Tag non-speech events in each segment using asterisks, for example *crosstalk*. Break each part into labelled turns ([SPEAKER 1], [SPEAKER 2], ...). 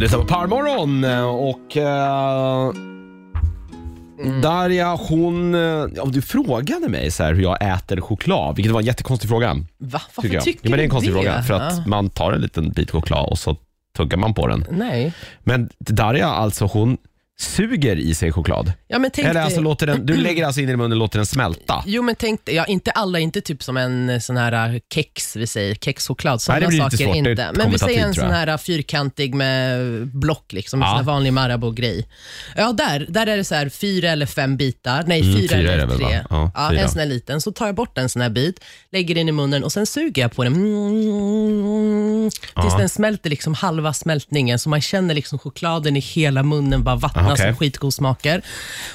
[SPEAKER 1] lyssnar på Parmorgon eh, och eh,
[SPEAKER 2] Mm.
[SPEAKER 1] Darja hon, eh, ja, du frågade mig så här hur jag äter choklad, vilket var en jättekonstig fråga.
[SPEAKER 2] Va? Varför
[SPEAKER 1] Tycker
[SPEAKER 2] tycker,
[SPEAKER 1] jag. ja, men det är en konstig
[SPEAKER 2] du det?
[SPEAKER 1] fråga
[SPEAKER 2] Ah,
[SPEAKER 1] för att
[SPEAKER 2] Ja.
[SPEAKER 1] man tar en liten bit choklad och så tuggar man på den.
[SPEAKER 2] Nej.
[SPEAKER 1] Men Darja alltså hon suger i sig choklad.
[SPEAKER 2] Ja, men tänk
[SPEAKER 1] Eller
[SPEAKER 2] dig,
[SPEAKER 1] alltså låter den, du lägger alltså in den i munnen och låter den smälta.
[SPEAKER 2] Jo, men tänk dig, ja, inte alla, inte typ som en eh, sån här eh, kex, vi säger, kexchoklad,
[SPEAKER 1] Nej, det
[SPEAKER 2] sådana
[SPEAKER 1] blir lite
[SPEAKER 2] saker
[SPEAKER 1] svårt. Det
[SPEAKER 2] inte. Men
[SPEAKER 1] kommer
[SPEAKER 2] vi
[SPEAKER 1] ta
[SPEAKER 2] säger
[SPEAKER 1] tid,
[SPEAKER 2] en
[SPEAKER 1] tror
[SPEAKER 2] sån
[SPEAKER 1] jag.
[SPEAKER 2] här eh, fyrkantig med block, liksom, en
[SPEAKER 1] Ja.
[SPEAKER 2] sån här vanlig Marabou-grej. Ja, där, där är det så här fyra eller fem bitar, nej,
[SPEAKER 1] Mm,
[SPEAKER 2] fyra,
[SPEAKER 1] fyra är det
[SPEAKER 2] eller
[SPEAKER 1] väl, va?
[SPEAKER 2] tre.
[SPEAKER 1] Ja,
[SPEAKER 2] Ja,
[SPEAKER 1] fyra.
[SPEAKER 2] en sån här liten, så tar jag bort en sån här bit, lägger den i munnen och sen suger jag på den. Mm, tills
[SPEAKER 1] Ja.
[SPEAKER 2] den smälter liksom halva smältningen, så man känner liksom chokladen i hela munnen bara vattnas
[SPEAKER 1] Ah, okej.
[SPEAKER 2] och skitgod smaker.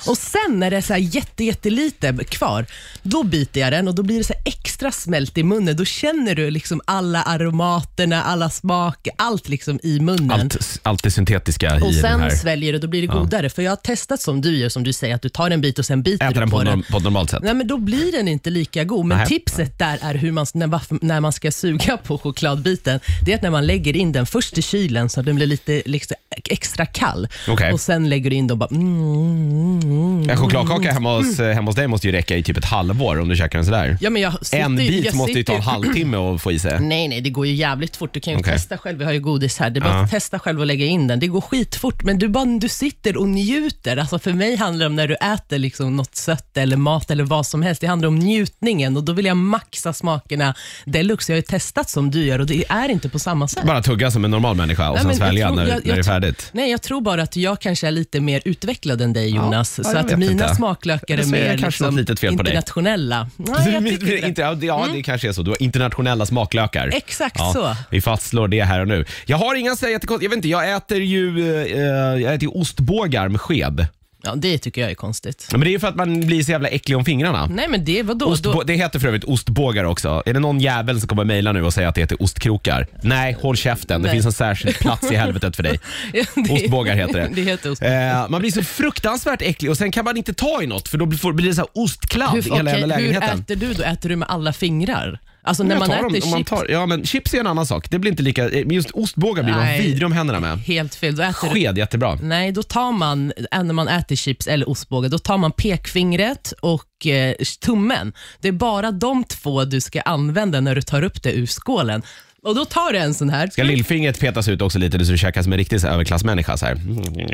[SPEAKER 2] Och sen när det är så här jätte, jättelite kvar, då biter jag den och då blir det så här extra smält i munnen. Då känner du liksom alla aromaterna, alla smaker, allt liksom i munnen.
[SPEAKER 1] Allt, allt det syntetiska i
[SPEAKER 2] Och
[SPEAKER 1] den här.
[SPEAKER 2] sen sväljer du, då blir det godare. För jag har testat som du gör, som du säger, att du tar en bit och sen biter
[SPEAKER 1] Äter
[SPEAKER 2] du
[SPEAKER 1] den
[SPEAKER 2] på
[SPEAKER 1] på,
[SPEAKER 2] den.
[SPEAKER 1] norm, på ett normalt sätt.
[SPEAKER 2] Nej, men då blir den inte lika god. Men
[SPEAKER 1] Nej.
[SPEAKER 2] tipset där är hur man, när, varför- när man ska suga på chokladbiten, det är att när man lägger in den först i kylen så att den blir lite liksom, extra kall.
[SPEAKER 1] Okej.
[SPEAKER 2] Och sen lägger du in den och bara mm, mm.
[SPEAKER 1] En chokladkaka hemma hos, hemma hos dig måste ju räcka i typ ett halvår om du käkar den sådär.
[SPEAKER 2] Ja, men jag sitter,
[SPEAKER 1] En
[SPEAKER 2] ju- Mm.
[SPEAKER 1] bit
[SPEAKER 2] jag
[SPEAKER 1] måste ju
[SPEAKER 2] sitter
[SPEAKER 1] ta en halvtimme att få i sig.
[SPEAKER 2] Nej, nej, det går ju jävligt fort. Du kan ju
[SPEAKER 1] Okej.
[SPEAKER 2] testa själv. Vi har ju godis här. Det är bara
[SPEAKER 1] Ja.
[SPEAKER 2] att testa själv och lägga in den. Det går skitfort, men du, bara, du sitter och njuter. Alltså för mig handlar det om när du äter liksom något sött eller mat eller vad som helst. Det handlar om njutningen och då vill jag maxa smakerna deluxe. Jag har ju testat som du gör och det är inte på samma sätt.
[SPEAKER 1] Bara tugga som en normal människa och
[SPEAKER 2] Nej,
[SPEAKER 1] sen
[SPEAKER 2] men jag
[SPEAKER 1] svälja
[SPEAKER 2] tror-
[SPEAKER 1] när,
[SPEAKER 2] jag-
[SPEAKER 1] när
[SPEAKER 2] jag
[SPEAKER 1] det är
[SPEAKER 2] tror-
[SPEAKER 1] färdigt.
[SPEAKER 2] Nej, jag tror bara att jag kanske är lite mer utvecklad än dig Jonas,
[SPEAKER 1] Ja, ja,
[SPEAKER 2] så
[SPEAKER 1] jag
[SPEAKER 2] att
[SPEAKER 1] vet
[SPEAKER 2] mina
[SPEAKER 1] inte.
[SPEAKER 2] smaklökar är
[SPEAKER 1] Så är det
[SPEAKER 2] mer
[SPEAKER 1] kanske något
[SPEAKER 2] liksom
[SPEAKER 1] litet fel på dig.
[SPEAKER 2] internationella.
[SPEAKER 1] *laughs*
[SPEAKER 2] Nej, jag tycker inte det.
[SPEAKER 1] inte, ja, det- ja, det kanske är så. Du har internationella smaklökar.
[SPEAKER 2] Exakt
[SPEAKER 1] ja,
[SPEAKER 2] så.
[SPEAKER 1] Vi fastslår det här och nu. Jag har inga så här jättekonstiga... Jag vet inte, jag äter ju eh, jag äter ju ostbågar med sked.
[SPEAKER 2] Ja, det tycker jag är konstigt.
[SPEAKER 1] Men det är ju för att man blir så jävla äcklig om fingrarna.
[SPEAKER 2] Nej men det, vadå?
[SPEAKER 1] Ostbå-
[SPEAKER 2] Mm, då,
[SPEAKER 1] Det heter för övrigt ostbågar också. Är det någon jävel som kommer mejla nu och säga att det heter ostkrokar? Nej, håll käften. Det
[SPEAKER 2] Nej.
[SPEAKER 1] finns en särskild plats i helvetet för
[SPEAKER 2] *laughs*
[SPEAKER 1] dig.
[SPEAKER 2] *laughs* Ja, det-
[SPEAKER 1] Ostbågar heter det.
[SPEAKER 2] *laughs* det heter ostbågar.
[SPEAKER 1] Eh, man blir så fruktansvärt äcklig och sen kan man inte ta i något för då blir- får- blir det så här ostkladd i
[SPEAKER 2] hur,
[SPEAKER 1] hela jävla
[SPEAKER 2] okej, hur
[SPEAKER 1] lägenheten.
[SPEAKER 2] äter du då? Äter du med alla fingrar? Alltså när
[SPEAKER 1] Jag
[SPEAKER 2] man
[SPEAKER 1] tar
[SPEAKER 2] äter
[SPEAKER 1] dem- om
[SPEAKER 2] chips,
[SPEAKER 1] man tar, ja, men chips är en annan sak. Det blir inte lika, eh, men just ostbågar blir man
[SPEAKER 2] Nej.
[SPEAKER 1] vidrig om händerna med.
[SPEAKER 2] helt fel. Då äter du, Mm.
[SPEAKER 1] Sked, jättebra.
[SPEAKER 2] nej, då tar man, äh, när man äter chips eller ostbågar, då tar man pekfingret och eh, tummen. Det är bara de två du ska använda när du tar upp det ur skålen. Och då tar du en sån här.
[SPEAKER 1] Ska lillfingret petas ut också lite så du käkar som en riktig så här, överklassmänniska? Så här.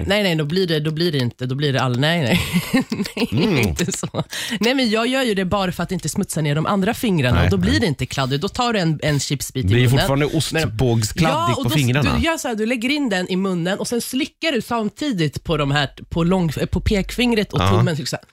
[SPEAKER 2] Nej, nej, då blir det, då blir det inte. Då blir det all... Nej,
[SPEAKER 1] *laughs*
[SPEAKER 2] nej. nej inte så. Nej, men jag gör ju det bara för att inte smutsa ner de andra fingrarna
[SPEAKER 1] Nej,
[SPEAKER 2] och då blir
[SPEAKER 1] nej.
[SPEAKER 2] det inte kladdigt. Då tar du en, en chipsbit
[SPEAKER 1] Det är
[SPEAKER 2] i
[SPEAKER 1] ju
[SPEAKER 2] munnen.
[SPEAKER 1] fortfarande
[SPEAKER 2] Men-
[SPEAKER 1] ostbågskladdigt
[SPEAKER 2] och
[SPEAKER 1] på
[SPEAKER 2] då-
[SPEAKER 1] fingrarna.
[SPEAKER 2] Du, gör så här, du lägger in den i munnen och sen slickar du samtidigt på, de här, på, lång, på pekfingret och
[SPEAKER 1] Ja.
[SPEAKER 2] tummen. typ Så här.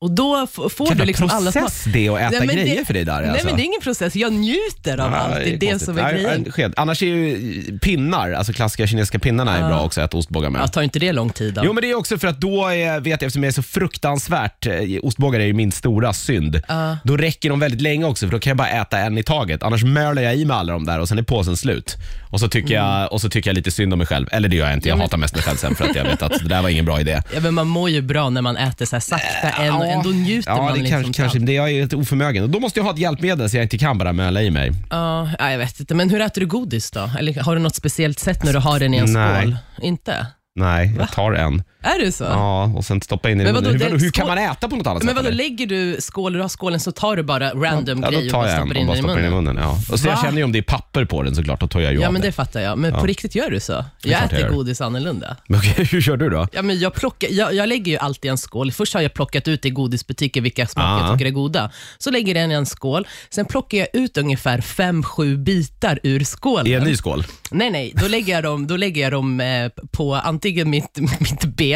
[SPEAKER 2] Och då f- får
[SPEAKER 1] Jävla
[SPEAKER 2] du liksom alla
[SPEAKER 1] process det att äta
[SPEAKER 2] Nej, men
[SPEAKER 1] grejer för dig där.
[SPEAKER 2] Nej,
[SPEAKER 1] alltså.
[SPEAKER 2] men det är ingen process. Jag njuter av
[SPEAKER 1] Ja,
[SPEAKER 2] allt. Det är det
[SPEAKER 1] konstigt.
[SPEAKER 2] som är
[SPEAKER 1] Nej,
[SPEAKER 2] grejen.
[SPEAKER 1] en sked. Annars är ju pinnar, alltså klassiska kinesiska pinnarna är bra också att äta ostbågar med.
[SPEAKER 2] Ja, tar inte det lång tid då?
[SPEAKER 1] Jo men det är också för att då är, vet jag eftersom jag är så fruktansvärt, eh, ostbågar är ju min stora synd. Då räcker de väldigt länge också för då kan jag bara äta en i taget. Annars mölar jag i mig alla de där och sen är påsen slut. Och så tycker,
[SPEAKER 2] Mm.
[SPEAKER 1] jag, och så tycker jag lite synd om mig själv. Eller det gör jag inte, jag hatar mest mig själv sen för att jag vet att det där var ingen bra
[SPEAKER 2] *laughs*
[SPEAKER 1] idé.
[SPEAKER 2] Ja, men man mår ju bra när man äter så här sakta en och en. Då njuter
[SPEAKER 1] Eh, ja,
[SPEAKER 2] man
[SPEAKER 1] det
[SPEAKER 2] liksom.
[SPEAKER 1] kanske, kanske,
[SPEAKER 2] fram.
[SPEAKER 1] det, jag är lite oförmögen. Och Då måste jag ha ett hjälpmedel så jag inte kan bara möla i mig.
[SPEAKER 2] Ja, ja, jag vet inte. Men hur äter du godis då? Eller har du något speciellt sätt när du har den i en
[SPEAKER 1] Nej.
[SPEAKER 2] skål? Inte?
[SPEAKER 1] Nej, jag tar en.
[SPEAKER 2] Är det så?
[SPEAKER 1] Ja, och sen stoppa in i
[SPEAKER 2] Men
[SPEAKER 1] munnen.
[SPEAKER 2] vadå,
[SPEAKER 1] Hur,
[SPEAKER 2] det-
[SPEAKER 1] vadå, hur kan
[SPEAKER 2] skål-
[SPEAKER 1] man äta på något annat
[SPEAKER 2] Men
[SPEAKER 1] sätt?
[SPEAKER 2] vadå,
[SPEAKER 1] eller?
[SPEAKER 2] lägger du skål, du har skålen så tar du bara random
[SPEAKER 1] Ja,
[SPEAKER 2] grejer
[SPEAKER 1] då tar
[SPEAKER 2] och
[SPEAKER 1] jag
[SPEAKER 2] bara
[SPEAKER 1] en
[SPEAKER 2] stoppar
[SPEAKER 1] och
[SPEAKER 2] in
[SPEAKER 1] bara
[SPEAKER 2] den i
[SPEAKER 1] stoppar in i
[SPEAKER 2] munnen?
[SPEAKER 1] munnen. Ja. Och så jag
[SPEAKER 2] Va?
[SPEAKER 1] känner ju om det är papper på den såklart, då tar jag ju
[SPEAKER 2] Ja
[SPEAKER 1] av
[SPEAKER 2] men
[SPEAKER 1] den.
[SPEAKER 2] det fattar jag, men på riktigt gör du så?
[SPEAKER 1] klart
[SPEAKER 2] Jag
[SPEAKER 1] jag
[SPEAKER 2] äter
[SPEAKER 1] gör.
[SPEAKER 2] godis annorlunda.
[SPEAKER 1] Men *laughs* okej, hur kör du då?
[SPEAKER 2] Ja, men jag, plockar, jag, jag lägger ju alltid en skål. Först har jag plockat ut i godisbutiker vilka smaker
[SPEAKER 1] Ah.
[SPEAKER 2] jag tycker är goda. Så lägger jag den i en skål, sen plockar jag ut ungefär fem sju bitar ur skålen.
[SPEAKER 1] I en ny skål?
[SPEAKER 2] Nej, nej. Då lägger jag dem, då lägger jag dem eh, på antingen mitt, mitt ben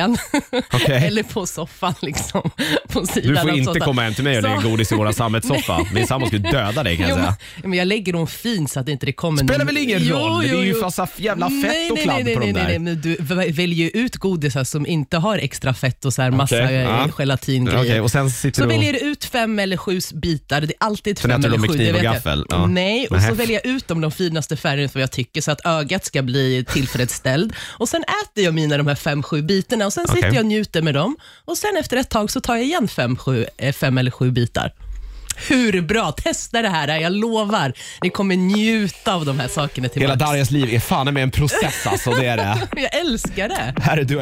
[SPEAKER 1] Okej.
[SPEAKER 2] eller på soffan. Liksom, på sidan
[SPEAKER 1] Du får
[SPEAKER 2] av
[SPEAKER 1] inte
[SPEAKER 2] soffan.
[SPEAKER 1] komma hem till mig och lägga
[SPEAKER 2] Så-
[SPEAKER 1] godis i våran
[SPEAKER 2] *laughs*
[SPEAKER 1] sammetssoffa. Min sambo skulle döda dig kan
[SPEAKER 2] Jo,
[SPEAKER 1] jag säga.
[SPEAKER 2] men, men jag lägger dem fint så att det inte det kommer
[SPEAKER 1] Spelar
[SPEAKER 2] någon-
[SPEAKER 1] väl ingen
[SPEAKER 2] Jo,
[SPEAKER 1] roll? Det
[SPEAKER 2] jo,
[SPEAKER 1] är ju
[SPEAKER 2] jo.
[SPEAKER 1] massa jävla fett
[SPEAKER 2] nej,
[SPEAKER 1] och
[SPEAKER 2] nej,
[SPEAKER 1] kladd
[SPEAKER 2] nej, nej,
[SPEAKER 1] på de
[SPEAKER 2] nej,
[SPEAKER 1] där.
[SPEAKER 2] Nej, nej, men du v- väljer ju ut godisar som inte har extra fett och så här massa
[SPEAKER 1] Okej,
[SPEAKER 2] eh,
[SPEAKER 1] ja.
[SPEAKER 2] gelatingrejer.
[SPEAKER 1] Okej, och sen sitter
[SPEAKER 2] Så
[SPEAKER 1] du och-
[SPEAKER 2] väljer du ut fem eller sju bitar. Det är alltid
[SPEAKER 1] Sen
[SPEAKER 2] fem
[SPEAKER 1] äter du
[SPEAKER 2] eller
[SPEAKER 1] dem med
[SPEAKER 2] sju.
[SPEAKER 1] kniv
[SPEAKER 2] det
[SPEAKER 1] och
[SPEAKER 2] vet jag.
[SPEAKER 1] gaffel? Ja.
[SPEAKER 2] Nej, och
[SPEAKER 1] Nähä.
[SPEAKER 2] så väljer jag ut dem de finaste färgerna för vad jag tycker så att ögat ska bli tillfredsställd. Och Sen äter jag mina de här fem, sju bitarna och sen
[SPEAKER 1] Okej.
[SPEAKER 2] sitter jag och njuter med dem. Och Sen efter ett tag så tar jag igen fem, sju, eh, fem eller sju bitar. hur bra. Testa det här, jag lovar. Ni kommer njuta av de här sakerna till
[SPEAKER 1] Hela
[SPEAKER 2] max.
[SPEAKER 1] Darjas liv är fan med en process alltså, det är det.
[SPEAKER 2] Jag älskar det.
[SPEAKER 1] Här är Dua